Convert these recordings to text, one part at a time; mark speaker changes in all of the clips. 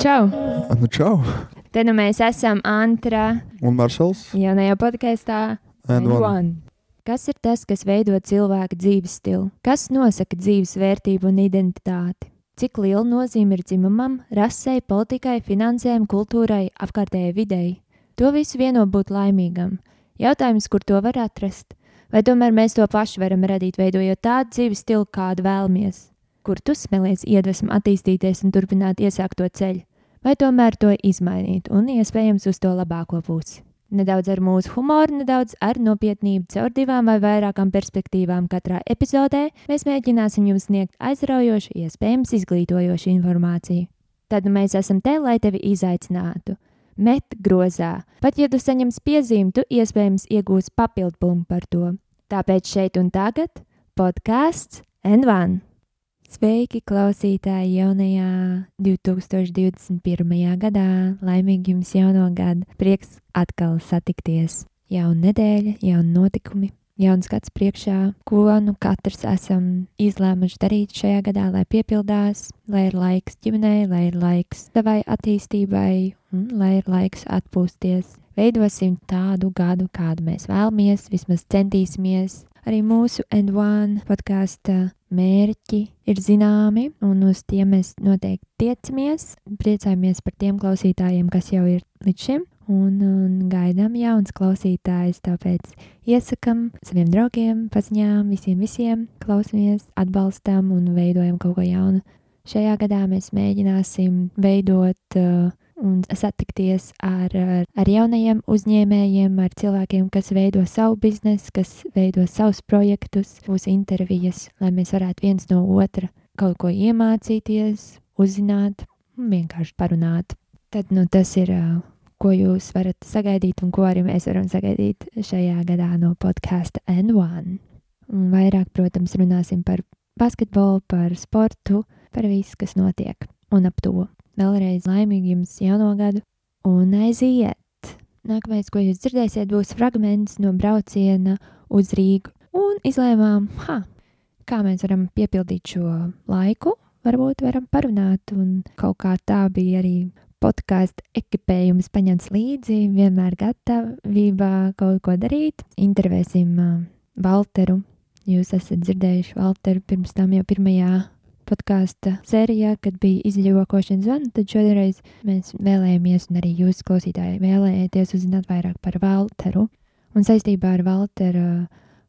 Speaker 1: čau!
Speaker 2: Nu, čau!
Speaker 1: Te nu mēs esam Antra,
Speaker 2: Un nu Maršals.
Speaker 1: jaunajā podkāstā.
Speaker 2: And one.
Speaker 1: Kas ir tas, kas veido cilvēku dzīves stilu? Kas nosaka dzīves vērtību un identitāti? Cik liela nozīme ir dzimumam, rasei, politikai, finansēm, kultūrai, apkārtējai videi? To visu vieno būt laimīgam. Jautājums, kur to var atrast? Vai tomēr mēs to paši varam radīt, veidojot tādu dzīves stilu, kādu vēlamies? Kur tu smelties iedvesmu attīstīties un turpināt iesākto ceļu? vai tomēr to izmainīt un iespējams uz to labāko pusi. Nedaudz ar mūsu humoru, nedaudz ar nopietnību, caur divām vai vairākām perspektīvām katrā epizodē mēs mēģināsim jums sniegt aizraujošu, iespējams izglītojošu informāciju. Tad nu mēs esam te, lai tevi izaicinātu. Met grozā. Pat ja tu saņemsi piezīmi, tu iespējams iegūsi papildu punktu par to. Tāpēc šeit un tagad podkāsts N1. Sveiki, klausītāji, jaunajā 2021. gadā! Laimīgi jums jauno gadu! Prieks atkal satikties! Jauna nedēļa, jauni notikumi, jauns gads priekšā, ko nu katrs esam izlēmuši darīt šajā gadā, lai piepildās, lai ir laiks ģimenei, lai ir laiks savai attīstībai un lai ir laiks atpūsties. Veidosim tādu gadu, kādu mēs vēlamies, vismaz centīsimies. Arī mūsu End One podkāstu mērķi ir zināmi, un uz tiem mēs noteikti tiecamies. Priecājamies par tiem klausītājiem, kas jau ir līdz šim, un, un gaidām jauns klausītājs. Tāpēc iesakām saviem draugiem, paziņām, visiem, visiem klausamies, atbalstam un veidojam kaut ko jaunu. Šajā gadā mēs mēģināsim veidot uh, un satikties ar, ar, ar jaunajiem uzņēmējiem, ar cilvēkiem, kas veido savu biznesu, kas veido savus projektus, būs intervijas, lai mēs varētu viens no otra kaut ko iemācīties, uzzināt un vienkārši parunāt. Tad nu, tas ir, ā, ko jūs varat sagaidīt un ko arī mēs varam sagaidīt šajā gadā no podkāsta N1. Un vairāk, protams, runāsim par basketbolu, par sportu, par visu, kas notiek un ap to. Vēlreiz laimīgi jums jauno gadu un aiziet! Nākamais, ko jūs dzirdēsiet, būs fragments no brauciena uz Rīgu. Un izlēmām, ha, kā mēs varam piepildīt šo laiku. Varbūt varam parunāt, un kaut kā tā bija arī podkāstu ekipējums paņemts līdzi, vienmēr gatavībā kaut ko darīt. Intervēsim ā, Valteru. Jūs esat dzirdējuši Valteru pirms tam jau pirmajā podkāstu sērijā, kad bija izjokošanas zvana, tad šoreiz mēs vēlējāmies, un arī jūs, klausītāji, vēlējāties uzzināt vairāk par Valteru. Un saistībā ar Valteru,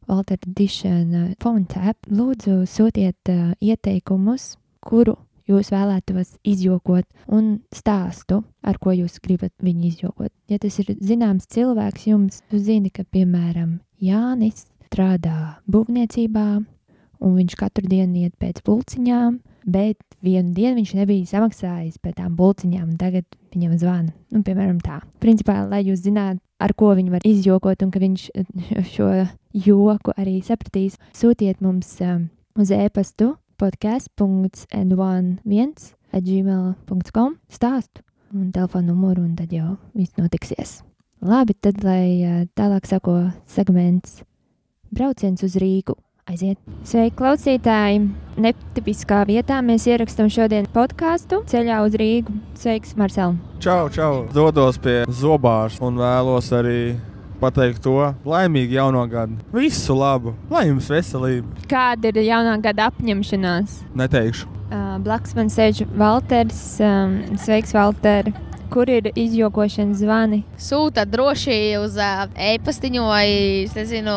Speaker 1: Valteru Dišana Fontēpu, lūdzu sūtiet uh, ieteikumus, kuru jūs vēlētos izjokot, un stāstu, ar ko jūs gribat viņu izjokot. Ja tas ir zināms cilvēks, jums tu zini, ka, piemēram, Jānis strādā būvniecībā, un viņš katru dienu iet pēc pulciņām, bet vienu dienu viņš nebija samaksājis par tām pulciņām, un tagad viņam zvana. Nu, piemēram, tā. Principā, lai jūs zinātu, ar ko viņi var izjokot, un ka viņš eh, šo joku arī sapratīs, sūtiet mums um, uz e-pastu podkāst.n11 gmail.com stāstu un telefonu numuru, un tad jau viss notiksies. Labi, tad lai eh, tālāk sako segments Brauciens uz Rīgu. Aiziet! Sveiki, klausītāji! Netipiskā vietā mēs ierakstām šodienas podkāstu ceļā uz Rīgu. Sveiks, Marcel!
Speaker 2: Čau, čau! Dodos pie zobārs un vēlos arī pateikt to laimīgu jauno gadu. Visu labu! Lai jums veselība!
Speaker 1: Kāda ir jaunā gada apņemšanās?
Speaker 2: Neteikšu.
Speaker 1: Uh, blakus man sēž Valters. Um, sveiks, Valter! Kur ir izjokošanas zvani?
Speaker 3: Sūta droši uz ā, e-pastiņu, vai es nezinu,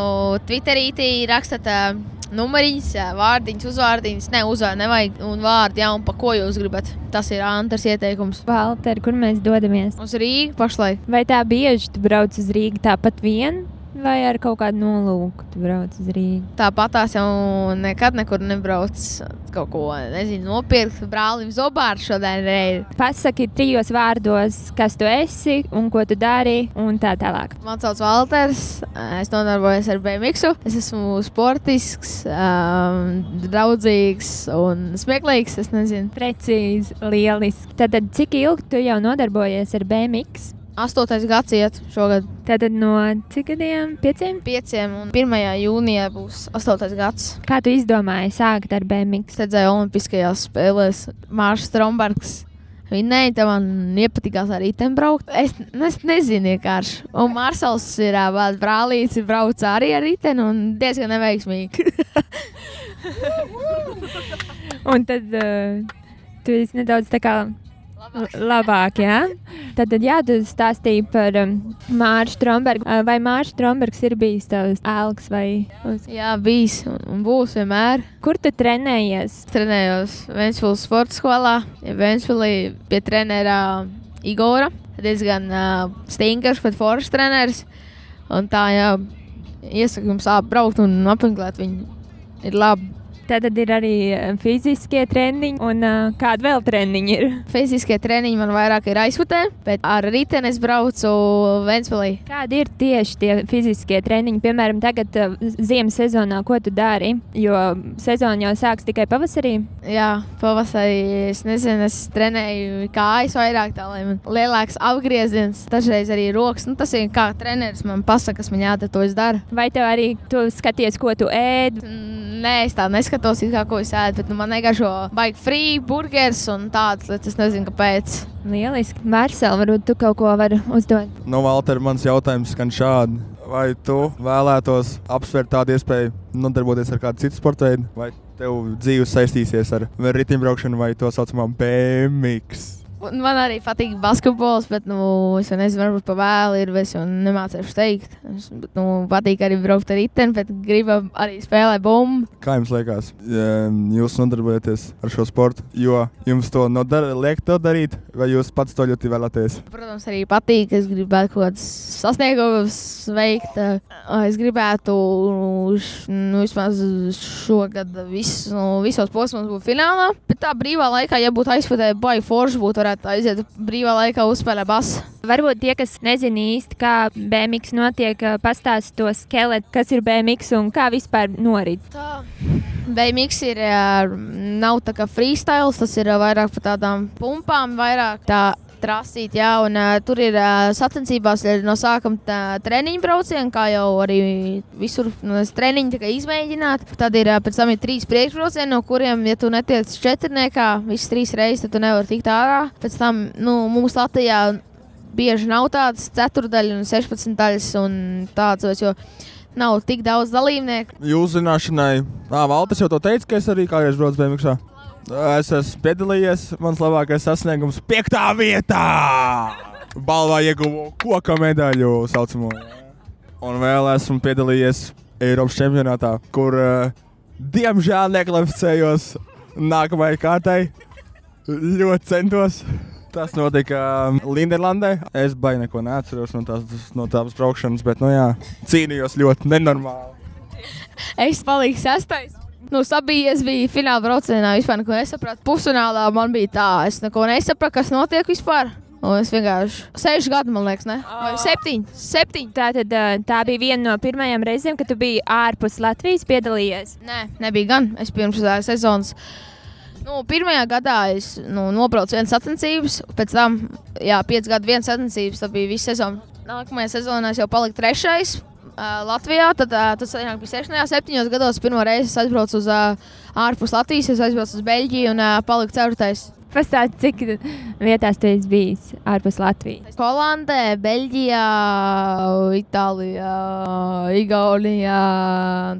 Speaker 3: Twitterītī rakstat ā, numuriņus, ā, vārdiņus, uzvārdiņus. Ne, uzvārdi nevajag, un vārdi, jā, un pa ko jūs gribat. Tas ir Antars ieteikums.
Speaker 1: Valter, kur mēs dodamies?
Speaker 3: Uz Rīgas pašlaik.
Speaker 1: Vai tā bieži tu brauc uz Rīgu tāpat vien, vai ar kaut kādu nolūku tu brauc uz Rīgu?
Speaker 3: Tāpat tās jau nekad nekur nebrauc. Kaut ko nezinu, nopirkt brālim Zobāru šodien reizi.
Speaker 1: Pasaki trijos vārdos, kas tu esi un ko tu dari, un tā tālāk.
Speaker 3: Mans vārds ir Walters. Es nodarbojos ar BMW. Es esmu sportisks, um, draudzīgs un smieklīgs. Es nezinu,
Speaker 1: Precīzi, lieliski. Tad, cik ilgi tu jau nodarbojies ar BMW?
Speaker 3: astotais gads iet šogad.
Speaker 1: Tad no cik gadiem? Pieciem?
Speaker 3: 5. un 1. jūnijā būs 8. gads.
Speaker 1: Kā tu izdomāji sākt ar BMW?
Speaker 3: Es redzēju, Olimpiskajās spēlēs Mārcis Strombergs Viņai tam nepatīkās arī tam braukt. Es, nu, es nezinu, vienkārši. Un Marsals ir ā, vēl brālīts, brauc arī ar riteni un diezgan neveiksmīgi.
Speaker 1: Un tad uh, tu esi nedaudz tā kā labāk, jā. Tad, tad jā, tu stāstīji par um, Māršu Trombergu. Uh, Vai Māršu Trombergs ir bijis tavs ēlgs vai uz...
Speaker 3: Jā, bijis un, un būs vienmēr.
Speaker 1: Kur tu trenējies?
Speaker 3: Es trenējos Vēnspils sporta skolā, Vēnspilī pie trenerā Igora. Diezgan uh, stingrs, bet foršs treneris. Un tā jau iesaku jums apbraukt un apmeklēt viņu. Ir labi.
Speaker 1: Tad, tad ir arī uh, fiziskie treniņi un uh, kāda vēl treniņi ir.
Speaker 3: Fiziskie treniņi man vairāk ir aizputē, bet ar riteni es braucu Vēnspilī.
Speaker 1: Kādi ir tieši tie fiziskie treniņi? Piemēram, tagad uh, ziemas sezonā, ko tu dari? Jo sezona jau sāks tikai pavasarī.
Speaker 3: Jā, pavasarī es nezinu, es trenēju kājas vairāk, tā lai man lielāks apgrieziens, dažreiz arī rokas. Nu, tas ir kā treneris man pasaka, kas man jādara, to es daru.
Speaker 1: Vai tev arī tu skaties, ko tu ēd?
Speaker 3: Mm, Nē, es tā neskatos, it kā ko es ēdu, bet nu, man negaršo baigi free burgers un tādas lietas. Es nezinu, kāpēc.
Speaker 1: Lieliski. Marcel, varbūt tu kaut ko vari uzdot.
Speaker 4: No Valtera Nu, mans jautājums skan šādi. Vai tu vēlētos apsvērt tādu iespēju nodarboties ar kādu citu sporta veidu, vai tev dzīve saistīsies ar riteņbraukšanu vai to saucamā BMX?
Speaker 3: Un Man arī patīk basketbols, bet nu, es jau nezinu, varbūt pavēlu ir, bet es jau nemācīšu teikt. Es, bet, nu, patīk arī braukt ar riteni, bet gribu arī spēlēt bumbu.
Speaker 4: Kā jums liekas, em, jūs nodarbojaties ar šo sportu, jo jums to nodara, liek to darīt, vai jūs pats to ļoti vēlaties?
Speaker 3: Protams, arī patīk. Es gribētu kaut kādas sasniegumus veikt. Eh, Es gribētu, š- nu, vismaz šogad visu, visos posmos būt finālā. Bet tā brīvā laikā, ja būtu aizpildīta, vai forši būtu, varētu aiziet brīvā laikā uzspēlēt basu.
Speaker 1: Varbūt tie, kas nezina īsti, kā BMX notiek, pastāsta to skeletu, kas ir BMX un kā vispār norit.
Speaker 3: Beigas ir eh, nav tā kā freestyle, tas ir eh, vairāk par tādām pumpām, vairāk tā trasīt. Jā, un, eh, tur ir eh, sacensībās ir no sākuma tā treniņu braucieni, kā jau arī visur nu, es treniņu tā kā izmēģināt. Tad ir eh, pēc tam ir trīs priekšbraucieni, no kuriem, ja tu netiec četrniekā visas trīs reizes, tad tu nevari tikt ārā. Pēc tam nu, mums Latvijā bieži nav tādas ceturdaļas un sešpadsmitdaļas un tādas, jo nav tik daudz dalībnieku.
Speaker 4: Jūsu zināšanai, ah, Valters jau to teica, ka es arī kādreiz braucu BMX. Es esmu piedalījies, mans labākais sasniegums - piektā vietā! Balvā ieguvu koka medaļu saucamo. Un vēl esmu piedalījies Eiropas čempionātā, kur eh, diemžēl nekvalificējos nākamajai kārtai. Ļoti centos. Tas notika eh, Linderlandē. Es baigi neko neatceros no tās, no tās braukšanas, bet, nu jā, cīnījos ļoti nenormāli.
Speaker 3: Es paliku sastais. Nu, sabijies bija fināla braucienā. Vispār neko nesapratu. Pusfinālā man bija tā, es neko nesapratu, kas notiek vispār. Un es vienkārši sešu gadu, man liekas, ne? Vai septiņi? Septiņi.
Speaker 1: Tā, tad, ā, tā bija viena no pirmajām reizēm, kad tu biji ārpus Latvijas piedalījies.
Speaker 3: Nē, nebija gan. Es pirms tā sezonas. Nu, pirmajā gadā es nu, nobraucu vienu sacensības, pēc tam, jā, piecus gadus viena sacensības, tad bija visa sezona. Nākamajā sezonā es jau paliku trešais uh, Latvijā, tad uh, tas sanāk bija sešajā, septiņos gados. Pirmo reizi es aizbraucu uz uh, ārpus Latvijas, es aizbraucu uz Beļģiju un uh, paliku ceturtais.
Speaker 1: Pastāst, cik vietās tu esi bijis ārpus Latvijas.
Speaker 3: Holandē, Beļģijā, Itālijā, Igaunijā.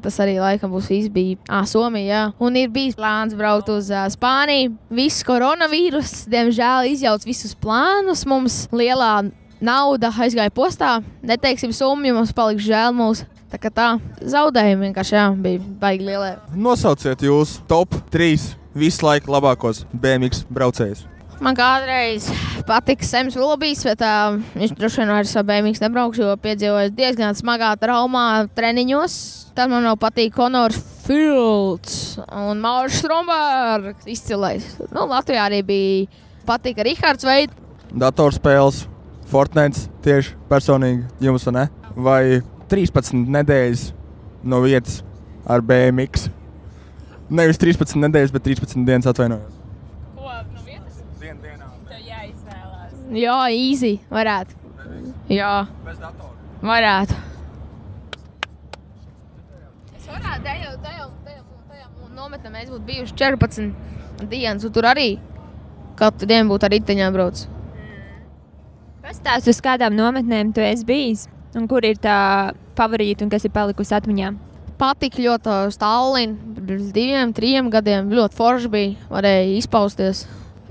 Speaker 3: Tas arī laikam būs viss bija. Ah, Somijā. Un ir bijis plāns braukt uz uh, Spāniju. Viss koronavīruss, diemžēl, izjauc visus plānus mums. Lielā nauda aizgāja postā. Neteiksim summu, jo mums palika žēl mūsu. Tā kā tā zaudējumi vienkārši jā, bija baigi lielie.
Speaker 4: Nosauciet jūs top 3 visu laiku labākos BMW braucējus.
Speaker 3: Man kādreiz patika Sams Lobijs, bet uh, viņš droši vien vairs ar BMW nebrauks, jo piedzīvojis diezgan smagā traumā treniņos. Tad man jau patīk Konors Fields un Mauris Strombergs. Izcilais. Nu, Latvijā arī bija patika Rihards Veids.
Speaker 4: Datorspēles, Fortnite tieši personīgi jums, vai ne? Vai 13 nedēļas no vietas ar BMW. Nevis 13 nedēļas, bet 13 dienas atvainojos.
Speaker 3: Jā, īsi varētu. Jā,
Speaker 4: Bez datora.
Speaker 3: varētu. Es varētu, ja jau tajā, tajā, tajā nometnē mēs būtu bijuši 14 dienas, un tur arī katru dienu būtu ar riteņā brauc.
Speaker 1: Pastāst, uz kādām nometnēm tu esi bijis un kur ir tā favorīta un kas ir palikusi atmiņā?
Speaker 3: Patīk ļoti Stalina. Pirms diviem, trim gadiem ļoti forši bija. Varēja izpausties.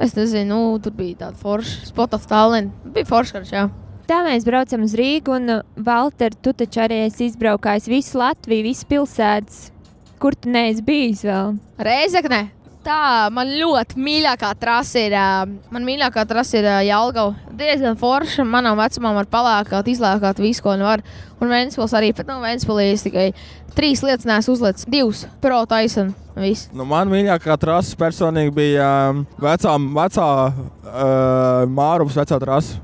Speaker 3: Es nezinu, nu, tur bija tāda forša. Spot of Stalina. Bija forša ar šā.
Speaker 1: Tā mēs braucam uz Rīgu, un, uh, Valter, tu taču arī esi izbraukājis visu Latviju, visu pilsētas. Kur tu neesi bijis vēl?
Speaker 3: Reizekne. Tā man ļoti mīļākā trasa ir. uh, Man mīļākā trasa ir Jālgava. Diezgan forša. Manām vecumām var palākāt, izlākāt visu, ko vien var. Un Vēnspils arī. Bet no Vēnspilī es tikai trīs lietas nesu uzlicis. Divas. Pro Tyson. Viss.
Speaker 4: Nu, man mīļākā trasa personīgi bija um, vecā, vecā uh, Mārupas vecā trasa.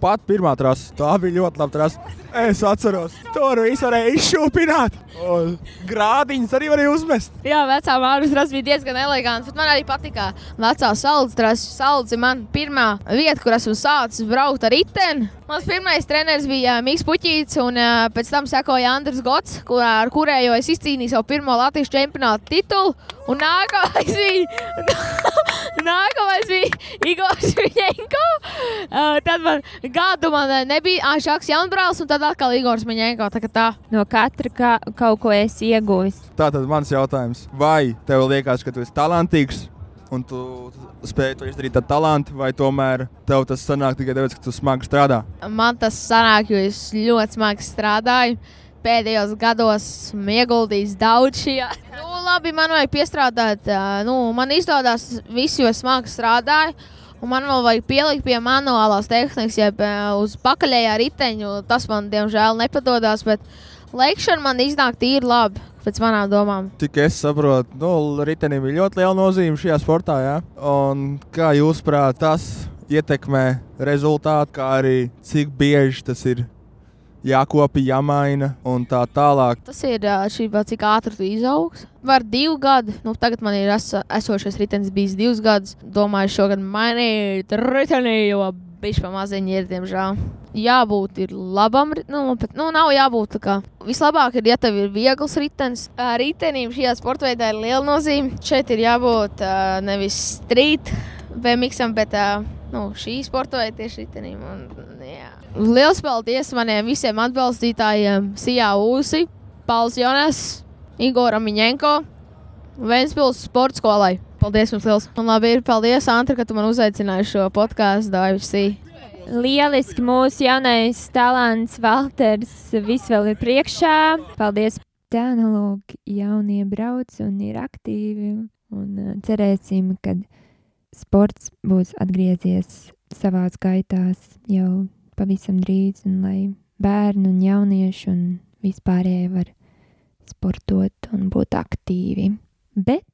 Speaker 4: Pat pirmā trasa. Tā bija ļoti laba trasa. Es atceros, tur viss varēja izšūpināt. Un Grādiņas arī varēja uzmest.
Speaker 3: Jā, vecā Mārcis Strunke bija diezgan elegants, bet man arī patika vecā saldus. Saldus ir man pirmā vieta, kur esmu sācis braukt ar riteni. Mans pirmais treneris bija Mikls Puķīts, un ā, pēc tam sekoja Andris Gots, kur, ar kurējo es izcīnīju savu pirmo Latvijas čempionāta titulu. Un nākamais bija, nākamais bija Igors Miņēnko. Tad man gadu man ā, nebija ā, Šaks Janbrāls, un tad atkal Igors Miņēnko. Tā kā tā.
Speaker 1: No katra ka kaut ko esi ieguvis.
Speaker 4: Tātad mans jautājums, vai tev liekas, ka tu esi talantīgs? Un tu spēj to izdarīt ar talantu, vai tomēr tev tas sanāk tikai tāpēc, ka tu smagi strādā?
Speaker 3: Man tas sanāk, jo es ļoti smagi strādāju. Pēdējos gados esmu ieguldījis daudz šajā. Nu, labi, man vajag piestrādāt. ā, Nu, man izdodas visu, jo es smagi strādāju. Un man vēl vajag pielikt pie manuālās tehnikas, jeb ā, uz pakaļējā riteņa. Tas man, diemžēl, nepadodas. Bet lēkšana man iznāk tīri labi, pēc manām domām.
Speaker 4: Cik es saprotu, nu, ritenim ir ļoti liela nozīme šajā sportā. Ja? Un kā jūs prāt, tas ietekmē rezultātu, kā arī cik bieži tas ir jākopja, jāmaina un tā tālāk.
Speaker 3: Tas ir ā, šī vēl cik ātri tu izaugs. Var divi gadi, nu tagad man ir es, esošais ritenis bijis divus gadus. Domāju, šogad mainīt riteni, jo bišķi pamaziņi ir, diemžēl. Jābūt ir labam, ri- nu, pat, nu nav jābūt tā kā. Vislabāk ir, ja tev ir viegls ritenis. Ā, Ritenim šajā sporta veidā ir liela nozīme. Šeit ir jābūt ā, nevis strīt vemiksam, bet ā, nu, šī sporta veida tieši ritenim. Un, nu, jā. Liels paldies maniem visiem atbalstītājiem, Sijā Usi, Pauls Jonas, Igoram Miņenko, Vēnspils sporta skolai. Paldies jums liels! Un labi ir, paldies, Antra, ka tu man uzaicināji šo podkāstu, Daivisī.
Speaker 1: Lieliski mūsu jaunais talants, Valters, viss vēl ir priekšā. Paldies! Tā nu lūk, jaunie brauc un ir aktīvi. Un uh, cerēsim, ka sports būs atgriezies savā gaitā jau pavisam drīz, un lai bērni un jaunieši un vispārējie var sportot un būt aktīvi. Bet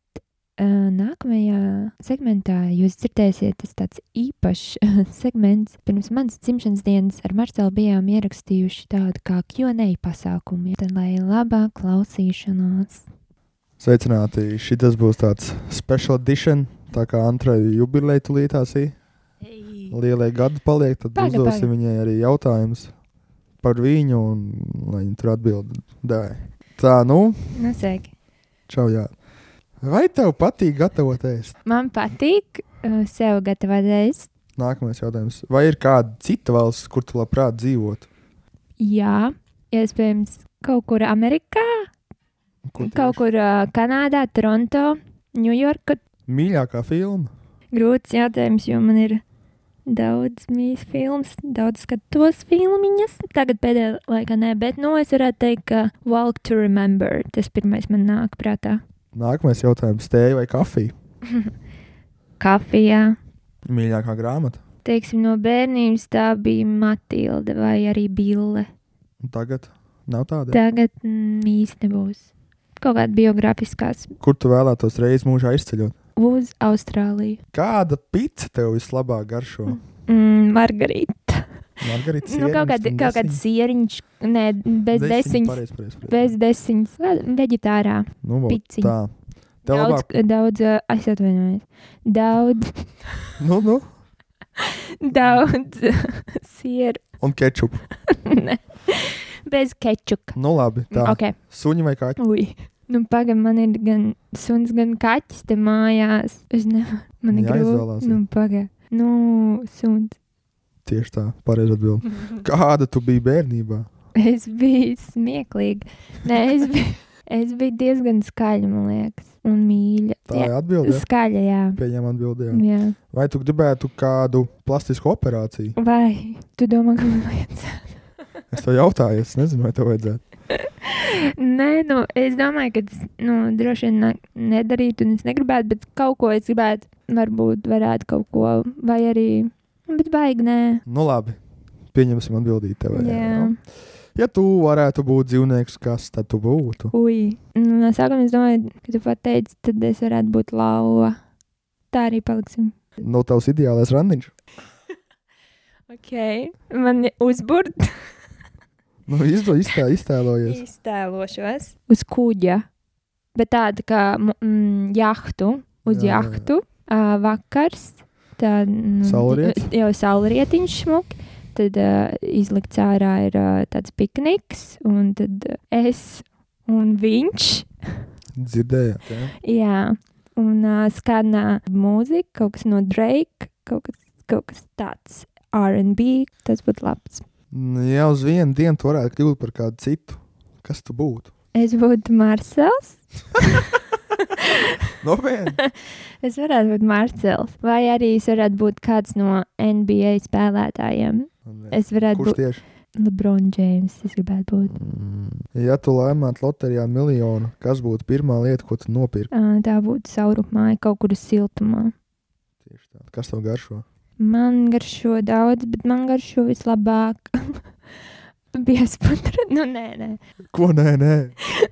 Speaker 1: Uh, nākamajā segmentā jūs dzirdēsiet, tas tāds īpašs segments. Pirms manas dzimšanas dienas ar Marcelu bijām ierakstījuši tādu kā QA pasākumu, ja tad lai labā klausīšanās.
Speaker 4: Sveicināti! Šis būs tāds special edition, tā kā Antrai jubileja tulītās ir. Lielai gadu paliek, tad
Speaker 1: Paga,
Speaker 4: paga,
Speaker 1: paga.
Speaker 4: uzdosim paga. viņai arī jautājumus par viņu, un lai viņa tur atbildēja. Tā, nu,
Speaker 1: Nosēki.
Speaker 4: čau, jā. Vai tev patīk gatavoties?
Speaker 1: Man patīk uh, sev gatavoties.
Speaker 4: Nākamais jautājums. Vai ir kāda cita valsts, kur tu labprāt dzīvot?
Speaker 1: Jā, iespējams, kaut kur Amerikā,
Speaker 4: Kur tieši?
Speaker 1: kaut kur uh, Kanādā, Toronto, Ņujorka.
Speaker 4: Mīļākā filma.
Speaker 1: Grūts jautājums, jo man ir daudz mīļas filmas, daudz skatos filmiņas. Tagad pēdējā laikā nē, bet no es varētu teikt, ka Walk to Remember tas pirmais man nāk prātā.
Speaker 4: Nākamais jautājums. Tēja vai kafija?
Speaker 1: Kafijā.
Speaker 4: Mīļākā grāmata.
Speaker 1: Teiksim, no bērnības tā bija Matilde vai arī Bille.
Speaker 4: Un tagad nav tāda.
Speaker 1: Tagad mm, īsti nebūs. Kaut kāda biogrāfiskās
Speaker 4: Kur tu vēlētos reizes mūžā izceļot?
Speaker 1: uz Austrāliju.
Speaker 4: Kāda pica tev vislabāk garšo?
Speaker 1: Mm, Margarita.
Speaker 4: Margarita.
Speaker 1: Nu, kaut kāda, kaut kāda sieriņš, nē, bez desiņas.
Speaker 4: Pareiz, pareiz, pareiz.
Speaker 1: Bez desiņas. Veģitārā.
Speaker 4: nu, vot
Speaker 1: piciņa.
Speaker 4: Tā. Tev
Speaker 1: Daudz,
Speaker 4: labāk.
Speaker 1: daudz, ā, es atvainojos. Daudz,
Speaker 4: Nu, nu.
Speaker 1: daudz eh, sieru.
Speaker 4: Un kečup.
Speaker 1: Nē. Bez kečuka.
Speaker 4: Nu, labi. Tā.
Speaker 1: Okay.
Speaker 4: Suņi vai kaķi?
Speaker 1: Ui. Nu, pagaidi, man ir gan suns, gan kaķis te mājās. Es nevaru. Man ir grūti.
Speaker 4: Jāizvēlās ir.
Speaker 1: Nu, pagaidi. Nu, suns.
Speaker 4: Tieši tā, pareizi atbild.
Speaker 1: Mhm.
Speaker 4: Kāda tu biji bērnībā?
Speaker 1: Es biju smieklīga. Nē, es biju, es biju diezgan skaļa, man liekas, un mīļa.
Speaker 4: Tā ir atbilde.
Speaker 1: jā. skaļa, jā.
Speaker 4: Pieņem atbildi. Jā.
Speaker 1: jā.
Speaker 4: Vai tu gribētu kādu plastisku operāciju?
Speaker 1: Vai tu domā, ka man vajadzētu?
Speaker 4: Es tev jautāju, es nezinu, vai tev vajadzētu.
Speaker 1: Nē, nu, es domāju, ka tas nu, droši vien ne- nedarītu, un es negribētu, bet kaut ko es gribētu. Varbūt varētu kaut ko, vai arī. Bet baigi, nē.
Speaker 4: Nu, labi. Pieņemsim atbildību tev. nu.
Speaker 1: Jā,
Speaker 4: Ja tu varētu būt dzīvnieks, kas tad tu būtu?
Speaker 1: ui. Nu, no sākuma es domāju, ka tu pateici, tad es varētu būt lauva. Tā arī paliksim.
Speaker 4: No Nu, tavs ideālais randiņš.
Speaker 1: Ok, man uzbūrt.
Speaker 4: Nu, izdo, iztē, iztēlojies.
Speaker 1: iztēlošos. Uz kuģa, bet tāda kā mu- mm, jahtu, uz
Speaker 4: Jā, jā, jā.
Speaker 1: jā, jahtu, uh, vakars, tad mm,
Speaker 4: Saulriets?
Speaker 1: jau saulrietiņš šmuki. Tad uh, izlikts ārā ir uh, tāds pikniks, un tad uh, es un viņš.
Speaker 4: Dzirdējāt, jā?
Speaker 1: Jā, un uh, skanā mūzika, kaut kas no Drake, kaut kas, kaut kas tāds RB. Tas būtu labs.
Speaker 4: Nu, ja uz vienu dienu tu varētu kļūt par kādu citu, kas tu būtu?
Speaker 1: Es būtu Marsels.
Speaker 4: Nopietni.
Speaker 1: Es varētu būt Marcels, vai arī es varētu būt kāds no NBA spēlētājiem. Es varētu
Speaker 4: Kurš
Speaker 1: būt
Speaker 4: tieši?
Speaker 1: Lebrons James. Es gribētu būt.
Speaker 4: Ja tu laimētu loterijā miljonu, kas būtu pirmā lieta, ko tu nopirktu?
Speaker 1: Ā, Tā būtu saurupmāja kaut kur uz siltumā.
Speaker 4: Tieši tā. Kas tev garšo?
Speaker 1: Man garšo daudz, bet man garšo vislabāk. Biespadriņa. Nu, nē, nē.
Speaker 4: Ko nē, nē?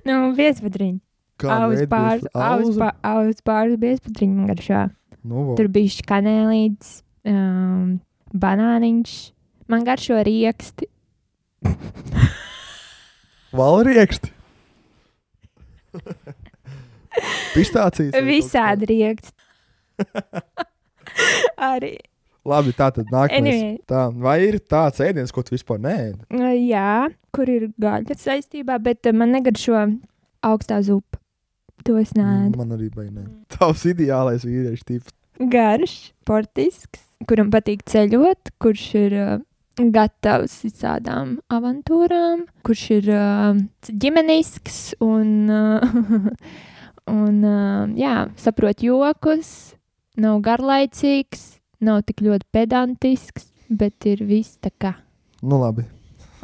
Speaker 1: Nu, biespadriņa. Aus pāris, aus
Speaker 4: Auspārs.
Speaker 1: pār- aus pāris biespadriņa man garšo.
Speaker 4: Nu, vo.
Speaker 1: Tur bija kanēlīds, um, banāniņš. Man garšo rieksti.
Speaker 4: Valrieksti. Pistācijas. vai kaut kas
Speaker 1: Visādi rieksti. Arī.
Speaker 4: tāds? Labi, tā tad nākamais.
Speaker 1: Anyway.
Speaker 4: Tā, vai ir tāds ēdiens, ko tu vispār nē?
Speaker 1: Uh, Jā, kur ir gaļa saistībā, bet uh, man negaršo augstā zupa. To es nēdu.
Speaker 4: Mm, Man arī bija nē. Tavs ideālais vīriešu tips.
Speaker 1: Garš, sportisks, kuram patīk ceļot, kurš ir uh, gatavs visādām avantūrām, kurš ir uh, ģimenisks un, uh, un uh, jā, saprot jokus, nav garlaicīgs, nav tik ļoti pedantisks, bet ir viss tā kā.
Speaker 4: Nu, labi.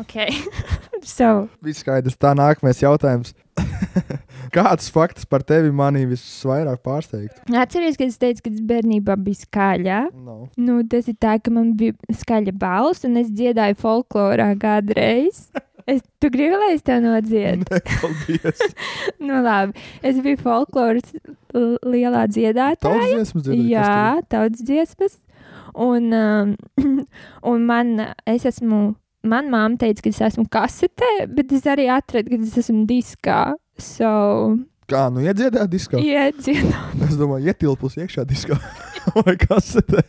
Speaker 1: Ok, so.
Speaker 4: Viss skaidrs. Tā nākamais jautājums. Kāds fakts par tevi manī visvairāk pārsteigtu?
Speaker 1: Atceries, kad es teicu, ka es bērnībā biju skaļā.
Speaker 4: No.
Speaker 1: Nu, tas ir tā, ka man bija skaļa balss, un es dziedāju folklorā kādreiz. Es, tu gribi, lai es tev nodziedu?
Speaker 4: Paldies.
Speaker 1: nu, labi. Es biju folkloras l- lielā dziedātāja.
Speaker 4: Tavs dziesmas dzirdēt.
Speaker 1: Jā, tautas dziesmas. Un, um, un man, es esmu, man māma teica, ka es esmu kasetē, bet es arī atradu, ka es esmu diskā. So,
Speaker 4: Kā, nu iedziedāt diskā?
Speaker 1: iedzied.
Speaker 4: Es domāju, ietilpus iekšā diskā vai kasetē.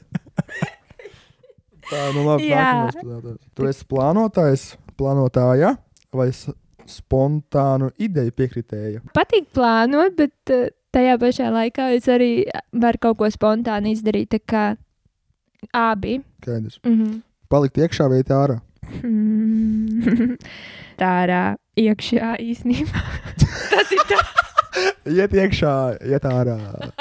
Speaker 4: Tā, nu labi,
Speaker 1: Jā.
Speaker 4: nākamais jautājums. Tu esi plānotājs, plānotāja vai s- spontānu ideju piekritēja?
Speaker 1: patīk plānot, bet uh, tajā pašā laikā es arī varu kaut ko spontāni izdarīt. Tā kā abi.
Speaker 4: Skaidrs.
Speaker 1: Mm
Speaker 4: Palikt iekšā vai iet ārā?
Speaker 1: -hmm. Tā arā iekšā īstenībā. Tas ir tā
Speaker 4: Iet iekšā, iet ārā.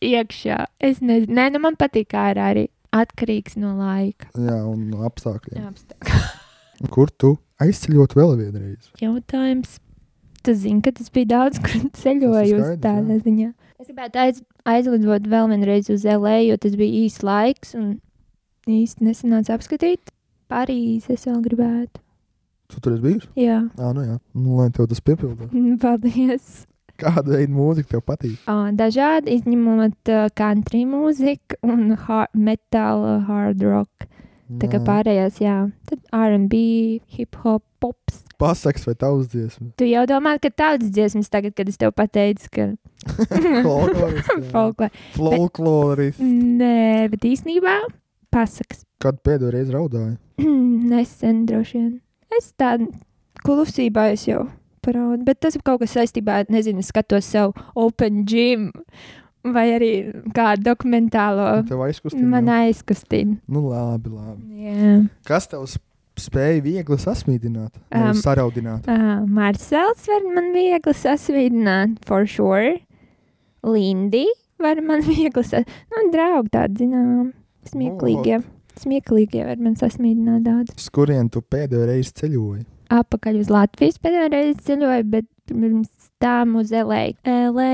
Speaker 1: iekšā. Es nezinu, Nē, nu man patīk ārā arī. Atkarīgs no laika.
Speaker 4: Jā, un no apstākļiem.
Speaker 1: Apstākļi.
Speaker 4: Kur tu aizceļot vēl vienreiz?
Speaker 1: Jautājums. Tu zini, ka tas bija daudz, kur ceļoju uz
Speaker 4: skaidrs,
Speaker 1: tādā
Speaker 4: jā.
Speaker 1: ziņā. Es gribētu aiz, aizlidot vēl vienreiz uz LA, jo tas bija īsts laiks un īsti nesanāca apskatīt. Parīzi es vēl gribētu.
Speaker 4: Tu tur esi bijis?
Speaker 1: Jā,
Speaker 4: Jā, nu jā. Nu, lai tev tas piepildās.
Speaker 1: Nu, paldies.
Speaker 4: Kāda veida mūzika tev patīk?
Speaker 1: Ā, Dažādi izņemot ā, country mūziku un har metālu, hard rock. Tā kā
Speaker 4: Nā.
Speaker 1: pārējās, jā, tad RB, hip hop, pops.
Speaker 4: Pasaks vai tavs dziesmas?
Speaker 1: Tu jau domā, ka tādas dziesmas tagad, kad es tev pateicu, ka
Speaker 4: Folklorists, jā.
Speaker 1: folklore.
Speaker 4: Folkloris.
Speaker 1: Nē, bet īsnībā pasakas.
Speaker 4: Kad pēdējo reizi raudāji?
Speaker 1: Nesen droši vien. Es tādu klusībā es jau operāni, bet tas ir kaut kas saistībā, nezinu, es skatos sev Open Gym vai arī kādu dokumentālo.
Speaker 4: Tev aizkustina.
Speaker 1: Man aizkustina.
Speaker 4: Nu, labi, labi.
Speaker 1: Jā,
Speaker 4: Kas tev s- spēja viegli sasmīdināt?
Speaker 1: Em,
Speaker 4: Um, saraudināt.
Speaker 1: uh, Marcels var man viegli sasvīdināt, for sure. Lindi var man viegli sasvīdināt. Nu, draugi tādi, zinām, smieklīgie. Smieklīgie var man sasmīdināt daudz.
Speaker 4: Uz kurien tu pēdējo reizi ceļoji?
Speaker 1: Apakaļ uz Latvijas pēdējo reizi ceļoju, bet pirms tam uz LA. LA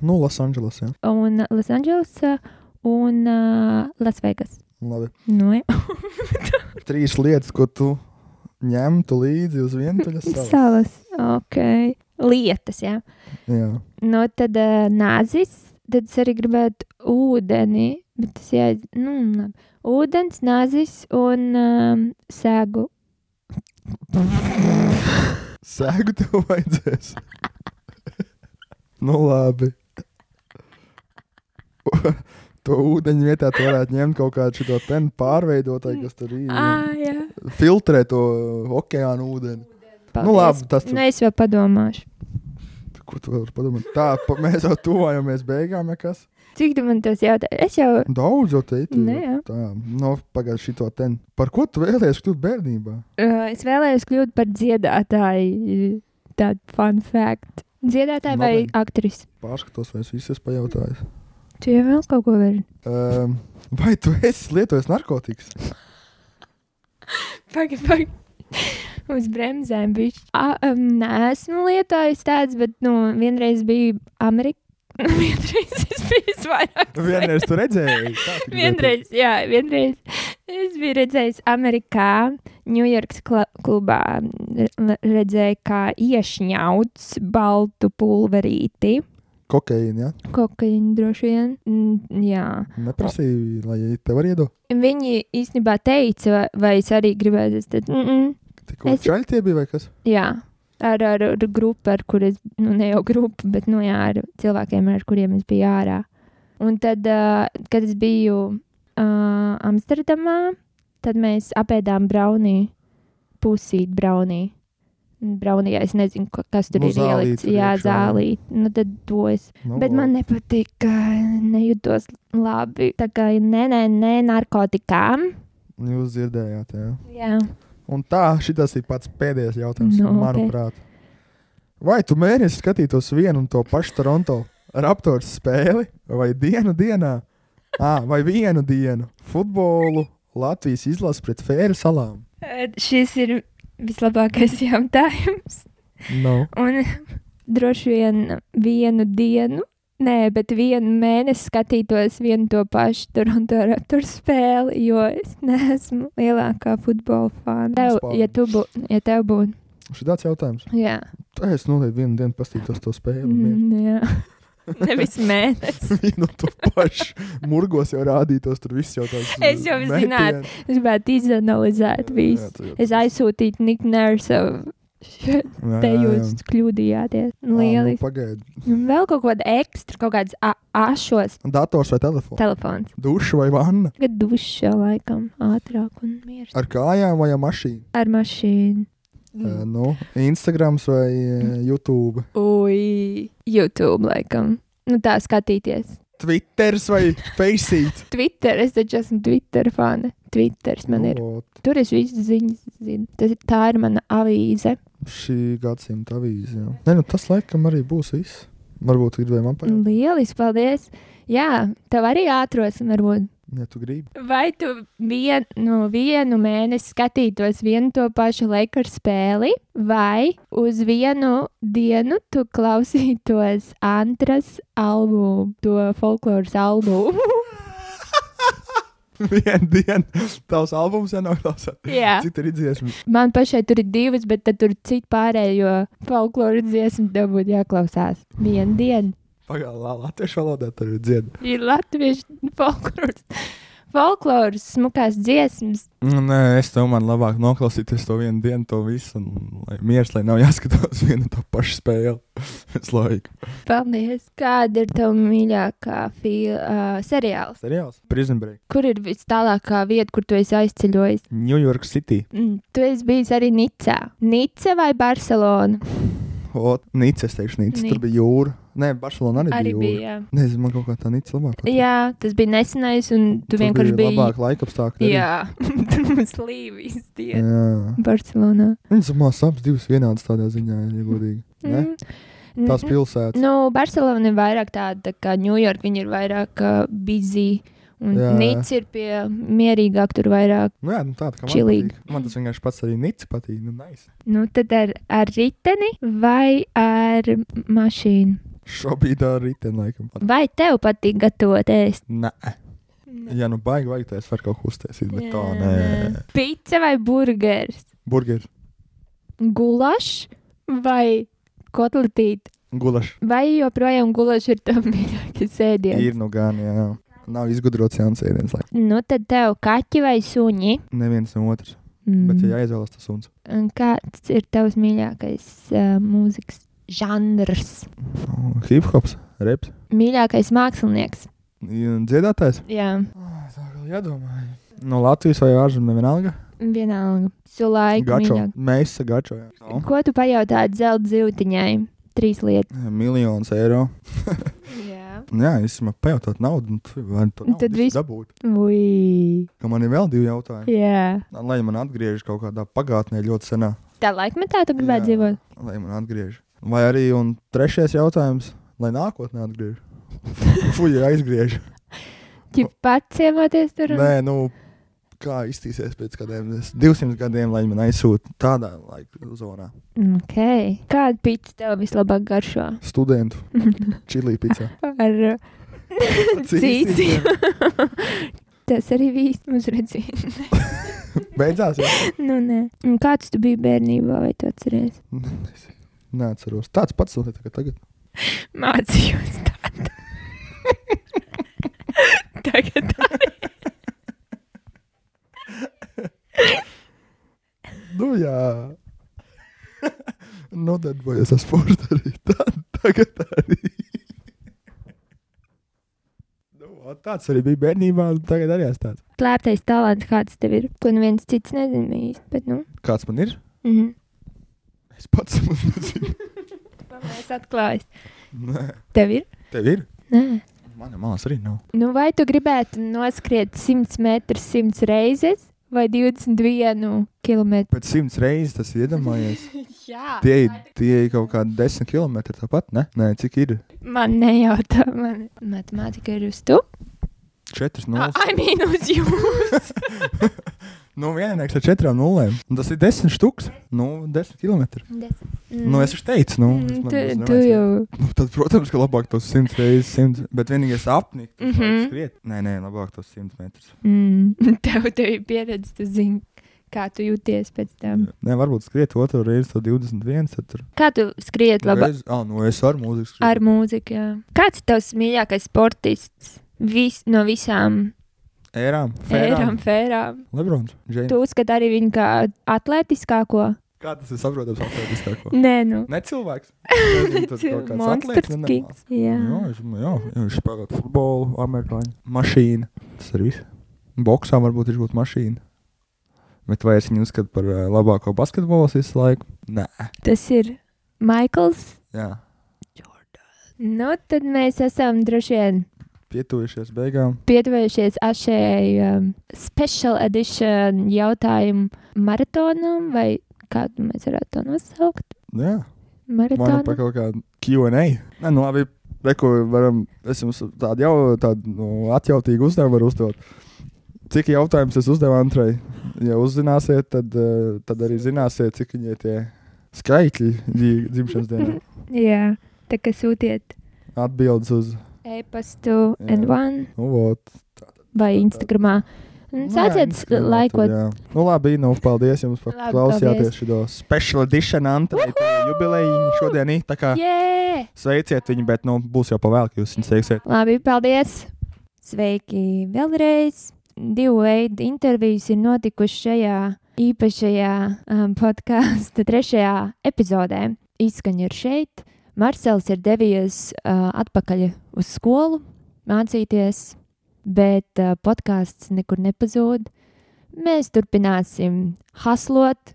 Speaker 4: Nu, Losandželosā. Ja.
Speaker 1: un Losandželosā un uh, Lasvegas.
Speaker 4: Labi.
Speaker 1: Nu, jā.
Speaker 4: Trīs lietas, ko tu ņemtu līdzi uz vientuļas salas.
Speaker 1: Salas. Ok. Lietas, jā.
Speaker 4: Jā.
Speaker 1: Nu, tad uh, nāzis, tad es arī gribētu ūdeni, bet tas jā, nu, labi. Ūdens, nāzis un um, sēgu.
Speaker 4: Sēgu tev vajadzēs. nu, labi. to ūdeņu vietā tu varētu ņemt kaut kādu šo penu pārveidotāju, kas tur ir.
Speaker 1: Ā, jā.
Speaker 4: Filtrē to okeānu ūdeni.
Speaker 1: Paldies.
Speaker 4: Nu, labi, tas tu-
Speaker 1: Nu, es vēl padomāšu.
Speaker 4: Ko tu vari padomāt? Tā, pa, mēs jau tuvojamies beigām, ja kas.
Speaker 1: Cik tu man tos jautā? Es jau.
Speaker 4: Daudz jau teikt.
Speaker 1: Nē, jā.
Speaker 4: Tā, no pagājušā šito ten. Par ko tu vēlējies kļūt bērnībā?
Speaker 1: Uh, es vēlējos kļūt par dziedātāju. Tāda fun fact. Dziedātāja vai
Speaker 4: Nobeigts.
Speaker 1: aktrise?
Speaker 4: Pārskatos, vai es visus pajautāju.
Speaker 1: Tu jau vēl kaut ko vari?
Speaker 4: Um, vai tu esi lietojis narkotikas?
Speaker 1: Pagaid, pagaid. Uz bremzēm bija. Um, nē, esmu lietojis tāds, bet nu, vienreiz bija Amerika. vienreiz es biju vairāk.
Speaker 4: Nu, Vienreiz tu redzēji. kā tik
Speaker 1: Vienreiz, jā, vienreiz es biju redzējis Amerikā, Ņujorkas kla- klubā. re- Redzēju, kā iešņauts baltu pulverīti.
Speaker 4: lietoji? Kokaīna, ja?
Speaker 1: Kokaini droši vien. Mm, jā.
Speaker 4: Neprasīju, lai tev var iedot.
Speaker 1: Viņi īstenībā teica, vai es arī gribētu. Es teicu, mm -mm.
Speaker 4: Tikko
Speaker 1: Es-
Speaker 4: es... čaļi tie bija vai kas?
Speaker 1: Jā, ar, ar, ar grupu, ar kuriem, nu, ne jau grupu, bet nu, jā, ar cilvēkiem, ar kuriem es biju ārā. Un tad, uh, kad es biju uh, Amsterdamā, tad mēs apēdām braunī, pusīt braunī. Braunijā es nezinu, ko- kas tur
Speaker 4: Nu,
Speaker 1: ir ielikts.
Speaker 4: zālīti tur
Speaker 1: Jā,
Speaker 4: iekšā, jā.
Speaker 1: zālīt. Nu, tad to es
Speaker 4: Nu,
Speaker 1: Bet man nepatīk, nejūtos labi. Tā kā nē, nē, nē, narkotikām.
Speaker 4: Jūs dzirdējāt, jā.
Speaker 1: Jā,
Speaker 4: Un tā, šis ir pats pēdējais jautājums,
Speaker 1: Nu,
Speaker 4: no,
Speaker 1: ok.
Speaker 4: manuprāt. Vai tu mēnesi skatītos vienu un to pašu Toronto raptors spēli, vai dienu dienā, à, vai vienu dienu futbolu Latvijas izlases pret Fēru salām?
Speaker 1: šis ir vislabākais jautājums.
Speaker 4: No.
Speaker 1: Un droši vien vienu dienu, nē, bet vienu mēnesi skatītos vienu to pašu Toronto Raptor spēli, jo es neesmu lielākā futbola fana. Tev,
Speaker 4: Vispār.
Speaker 1: ja, tu bū, ja tev būtu,
Speaker 4: Šāds jautājums.
Speaker 1: jā,
Speaker 4: Tā es noteikti vienu dienu paskatītos to spēli. Mm.
Speaker 1: mm, jā. nevis mēnesis.
Speaker 4: Vienu un to pašu murgos jau rādītos, tur viss jau tāds - uh,
Speaker 1: Es jau zinātu. Es gribētu izanalizēt visu. Es aizsūtītu Niku Nērsu. Te jūs kļūdījāties.
Speaker 4: Lieliski. Nu,
Speaker 1: Lieliski.
Speaker 4: Pagaidiet,
Speaker 1: Un vēl kaut kāda ekstra, kaut kāds a- ašos
Speaker 4: dators vai telefons?
Speaker 1: telefons.
Speaker 4: Duša vai vanna?
Speaker 1: Tagad dušā laikam ātrāk un mierāk.
Speaker 4: Ar kājām vai ar mašīnu?
Speaker 1: Ar mašīnu.
Speaker 4: Mm. Nu, Instagram vai
Speaker 1: Mm.
Speaker 4: eh, YouTube.
Speaker 1: Ui, YouTube laikam. Nu tā skatīties.
Speaker 4: Twitter vai Facebook.
Speaker 1: Twitter, es taču esmu Twitter fani. Twitters man
Speaker 4: Nu.
Speaker 1: ir. Tur es visu ziņas zinu. Tas, ir- tā ir mana avīze.
Speaker 4: Šī gadsimta avīze. jā. Nē, nu, tas laikam arī būs viss. Varbūt gribējām apaļot.
Speaker 1: Lieliski, paldies. Jā, tev arī ātros varbūt.
Speaker 4: Ja tu gribi.
Speaker 1: Vai tu vien, nu, vienu mēnesi skatītos vienu to pašu laiku spēli, vai uz vienu dienu tu klausītos Antras albumu, to folkloras albumu?
Speaker 4: Vienu dienu tavs albums jau nav klausās.
Speaker 1: Jā,
Speaker 4: Cik tur ir dziesmas?
Speaker 1: man pašai tur ir divas, bet tad tur citu pārējo folkloras dziesmu tev būtu jāklausās. Vienu dienu
Speaker 4: Pagaidām, latviešu valodā tur ir dziedāta.
Speaker 1: ir latviešu folkloras. Folkloras smukās dziesmas.
Speaker 2: Nē, es domāju, labāk noklausīties to vienu dienu, to visu. un Lai mieras, lai nav jāskatās viena un tā paša spēle. Visu laiku.
Speaker 1: Paldies! Kāda ir tava mīļākā fil, uh, seriāls?
Speaker 4: Seriāls.
Speaker 2: Prison break.
Speaker 1: Kur ir vistālākā vieta, kur tu esi aizceļojis?
Speaker 2: New York City.
Speaker 1: Mm, tu esi bijis arī Nicā. Nica vai Barcelona?
Speaker 4: Ot, Nice, es teikšu, Nice. Tur
Speaker 1: Nice.
Speaker 4: bija jūra. Nē, Barcelona arī,
Speaker 1: Arī
Speaker 4: bija. Jūra.
Speaker 1: bija. jā.
Speaker 4: Nezinu, man kaut kā tā Nice labāk. patīk.
Speaker 1: Jā, tas bija nesenais, un tu
Speaker 4: Tur
Speaker 1: vienkārši
Speaker 4: bija
Speaker 1: biji.
Speaker 4: labāk laika apstākļi. arī.
Speaker 1: Jā, tur mums līvijas diena.
Speaker 4: Jā.
Speaker 1: Barcelonā.
Speaker 4: Viņas man abas divas vienādas tādā ziņā, ja godīgi. Ne?
Speaker 1: Mm.
Speaker 4: Tās
Speaker 1: Mm.
Speaker 4: pilsētas.
Speaker 1: Nu, Barcelona ir vairāk tāda, kā Ņujorka. Viņa ir vairāk uh, busy. Un
Speaker 4: Jā, jā.
Speaker 1: Nīca ir pie mierīgāk, tur vairāk.
Speaker 4: Nu, jā, nu tāda kā man
Speaker 1: Chillīgi.
Speaker 4: patīk. Man tas vienkārši pats arī nici patīk. Nu, nice.
Speaker 1: Nu, tad ar, ar riteni vai ar mašīnu?
Speaker 4: Šobrīd ar riteni laikam.
Speaker 1: Vai tev patīk gatavot ēst?
Speaker 4: Nē, ja nu baigi vajag, tad es varu kaut ko uztaisīt, bet tā
Speaker 1: Jā.
Speaker 4: nē.
Speaker 1: Pica vai burgeris?
Speaker 4: Burgeri,
Speaker 1: Gulašs vai kotletīte?
Speaker 4: gulaši.
Speaker 1: Vai joprojām gulašs ir tavs mīļākais ēdiens?
Speaker 4: Ir nu gan, jā. Nav izgudrots jauns ēdiens, lai
Speaker 1: Nu, tad tev kaķi vai suņi?
Speaker 4: neviens no otrs. Mm. Bet, ja jāizvēlas tas suns,
Speaker 1: Un Kāds ir tavs mīļākais uh, mūzikas žanrs?
Speaker 4: Nu, hip hops, reps,
Speaker 1: Mīļākais mākslinieks.
Speaker 4: Ja dziedātājs.
Speaker 1: Jā,
Speaker 4: Tā vēl jādomā. No Latvijas vai ārzemēm vienalga?
Speaker 1: vienalga. Su laiku.
Speaker 4: Gačo.
Speaker 1: mīļāk.
Speaker 4: Mēs esam gačo. jā. Nu.
Speaker 1: Ko tu pajautāji zelta zīltiņai? Trīs lietas.
Speaker 4: Miljonus eiro.
Speaker 1: Jā,
Speaker 4: Nu Jā, es domāju, pajautāt naudu, un tu vari to
Speaker 1: Un tad
Speaker 4: naudu
Speaker 1: viss-
Speaker 4: visu dabūt.
Speaker 1: Ui.
Speaker 4: Ka man ir vēl divi jautājumi. Nu,
Speaker 1: Jā.
Speaker 4: Lai man atgriež kaut kādā pagātnē ļoti senā.
Speaker 1: Tā laikmetā tu gribētu
Speaker 4: Jā.
Speaker 1: dzīvot.
Speaker 4: Lai man atgriež. Vai arī un trešais jautājums, lai nākotnē atgriež. Fuja aizgriež.
Speaker 1: Ķip pats ciemoties tur. un-
Speaker 4: Nē, nu. Kā iztīsies pēc kādiem 200 gadiem, lai man aizsūta tādā laika zonā?
Speaker 1: Okay. Kāda pīta tev vislabāk garšo?
Speaker 4: Studentu, čili pizza.
Speaker 1: Ar eh, cīci. Tas arī viss mums redzēja.
Speaker 4: Beidzās, jā.
Speaker 1: nu, nē. Un Kāds tu biji bērnībā, vai tu atceries?
Speaker 4: Neatceros. Tāds pats sūta tagad. tagad.
Speaker 1: Mācījos tādu. Tagad tā.
Speaker 4: Nu, jā. Nu, Nodarbojas ar sportu arī. Tā, tagad arī. nu, o, tāds arī bija bērnībā, un tagad arī esmu tāds.
Speaker 1: Slēptais talants, kāds tev ir, ko neviens cits nezina īsti. Bet, nu,
Speaker 4: Kāds man ir?
Speaker 1: mm -hmm.
Speaker 4: Es pats nemaz nezinu.
Speaker 1: es atklāju.
Speaker 4: Nē,
Speaker 1: Tev ir?
Speaker 4: tev ir.
Speaker 1: Nē.
Speaker 4: Man mās arī nav.
Speaker 1: Nu, vai tu gribētu noskriet 100 metrus 100 reizes vai 21 km?
Speaker 4: Pēc simts reizes tas ir iedomājies.
Speaker 1: Jā,
Speaker 4: Tie ir tie ir kaut kādi desmit kilometri tāpat, ne? Nē, cik ir?
Speaker 1: man nejautā, man matemātika ir uz tu.
Speaker 4: Četras
Speaker 1: Ah,
Speaker 4: nulles.
Speaker 1: I mean, uz jums.
Speaker 4: Nu, vienīgais ar četrām nullēm. Un Tas ir desmit štuks. Nu, desmit kilometri. Mm. Nu, es jau teicu, nu, es
Speaker 1: Mm,
Speaker 4: man- es
Speaker 1: tu, tu
Speaker 4: nevajadzēju.
Speaker 1: jau.
Speaker 4: Nu, tad, protams, ka labāk tos simts reizes, simts, bet vienīgais apnika. Mm
Speaker 1: Mhm.
Speaker 4: -hmm. Skriet. Nē, nē, labāk tos simts metrus.
Speaker 1: Mm, tev, tev ir pieredze, tu zini, kā tu jūties pēc tam.
Speaker 4: Nē, varbūt skriet otru reizi, to 21. Tad tur
Speaker 1: Kā tu skrieti labāk
Speaker 4: reizi, ah, nu, es ar mūziku skrietu.
Speaker 1: ar mūziku? Jā. Kāds ir tavs mīļākais sportists Vis, no visām
Speaker 4: ērām,
Speaker 1: ērām,
Speaker 4: fērām.
Speaker 1: fērām?
Speaker 4: Lebrons,
Speaker 1: Tu
Speaker 4: Džeims.
Speaker 1: uzskati arī viņu kā atletiskāko?
Speaker 4: Kā tas ir saprotams, apstāties?
Speaker 1: Nē, nu.
Speaker 4: Ne cilvēks. Nezinu, tur kaut kāds atliekas,
Speaker 1: Monsters
Speaker 4: nu, nemaz.
Speaker 1: kiks. Jā.
Speaker 4: Jā, es domāju, jā, jā, viņš spēlē futbolu, amerikāņu. Mašīna. Tas ir viss. Boksā varbūt viņš būtu mašīna. Bet vai es viņu uzskatu par ā, labāko basketbolistu visu laiku? Nē.
Speaker 1: Tas ir Maikls.
Speaker 4: Jā.
Speaker 1: Nu, tad mēs esam droši vien
Speaker 4: pietuvušies beigām.
Speaker 1: pietuvējušies šai um, special edition jautājumu maratonam, vai kādu mēs varētu to nosaukt?
Speaker 4: Jā, man ir
Speaker 1: Maratonu.
Speaker 4: par kaut kādu QA. Nē, nu labi, reku, varam, es jums tādu jau tādu nu, atjautīgu uzdevumu varu uzdot. Cik jautājums es uzdevu Antrai? Ja uzzināsiet, tad, eh, tad arī zināsiet, cik viņai tie skaitļi dzī- dzimšanas dienā
Speaker 1: Jā, tā kā sūtiet
Speaker 4: atbildes uz.
Speaker 1: e-pastu,
Speaker 4: Jā.
Speaker 1: N1
Speaker 4: Nu, vot.
Speaker 1: vai Instagram.
Speaker 4: Nu, jā,
Speaker 1: Sāciet
Speaker 4: Instagramā tur,
Speaker 1: laikot.
Speaker 4: jā. Nu, labi, nu, paldies jums par
Speaker 1: Labi,
Speaker 4: klausījāties
Speaker 1: paldies.
Speaker 4: šo special edition Antrai. Tā Jubilējiņa šodien ir. tā kā
Speaker 1: Jē!
Speaker 4: Sveiciet viņu, bet nu, būs jau pavēlki, jūs viņu sveiksiet.
Speaker 1: Labi, paldies! Sveiki vēlreiz! Divu veidu intervijas ir notikušas šajā īpašajā um, podkāstu trešajā epizodē. Izskaņa ir šeit. Marcels ir devies uh, atpakaļ uz skolu mācīties, bet uh, podkāsts nekur nepazūd. Mēs turpināsim haslot,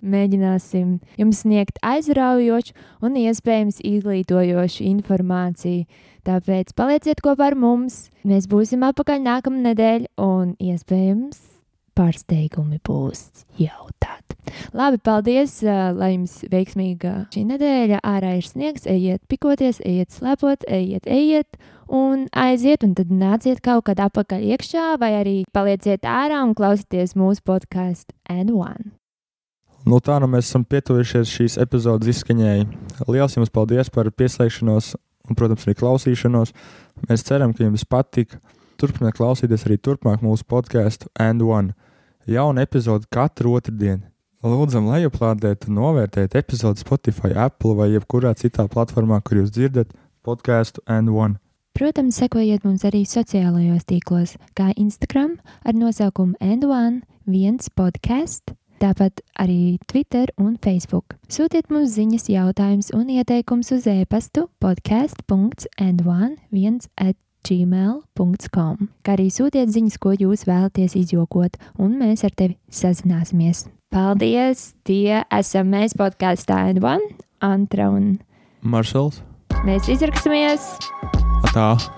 Speaker 1: Mēģināsim jums sniegt aizraujošu un iespējams izglītojošu informāciju. Tāpēc palieciet kopā ar mums. Mēs būsim atpakaļ nākamā nedēļa un iespējams pārsteigumi būs jau tad. Labi, paldies, ā, lai jums veiksmīga šī nedēļa. Ārā ir sniegs, ejiet pikoties, ejiet slēpot, ejiet, ejiet. Un aiziet, un tad nāciet kaut kad atpakaļ iekšā, vai arī palieciet ārā un klausieties mūsu podkāstu N1.
Speaker 4: Nu tā nu mēs esam pietuvušies šīs epizodes izskaņai. Lielas jums paldies par pieslēgšanos un, protams, arī klausīšanos. Mēs ceram, ka jums patika. Turpiniet klausīties arī turpmāk mūsu podkāstu And One. Jauna epizode katru otrdienu. Lūdzam, lai uplādējat un novērtējat epizodi Spotify, Apple vai jebkurā citā platformā, kur jūs dzirdat podkāstu And One.
Speaker 1: Protams, sekojiet mums arī sociālajos tīklos, kā Instagram ar nosaukumu N1, viens podkāsts, tāpat arī Twitter un Facebook. Sūtiet mums ziņas, jautājumus un ieteikumus uz e-pastu podkāsts.n1.gmail.com, kā arī sūtiet ziņas, ko jūs vēlaties izjokot, un mēs ar tevi sazināsimies. Paldies! Tie esam mēs podkāstā N1, Antra un
Speaker 4: Maršals,
Speaker 1: mēs izraksimies!
Speaker 4: tā!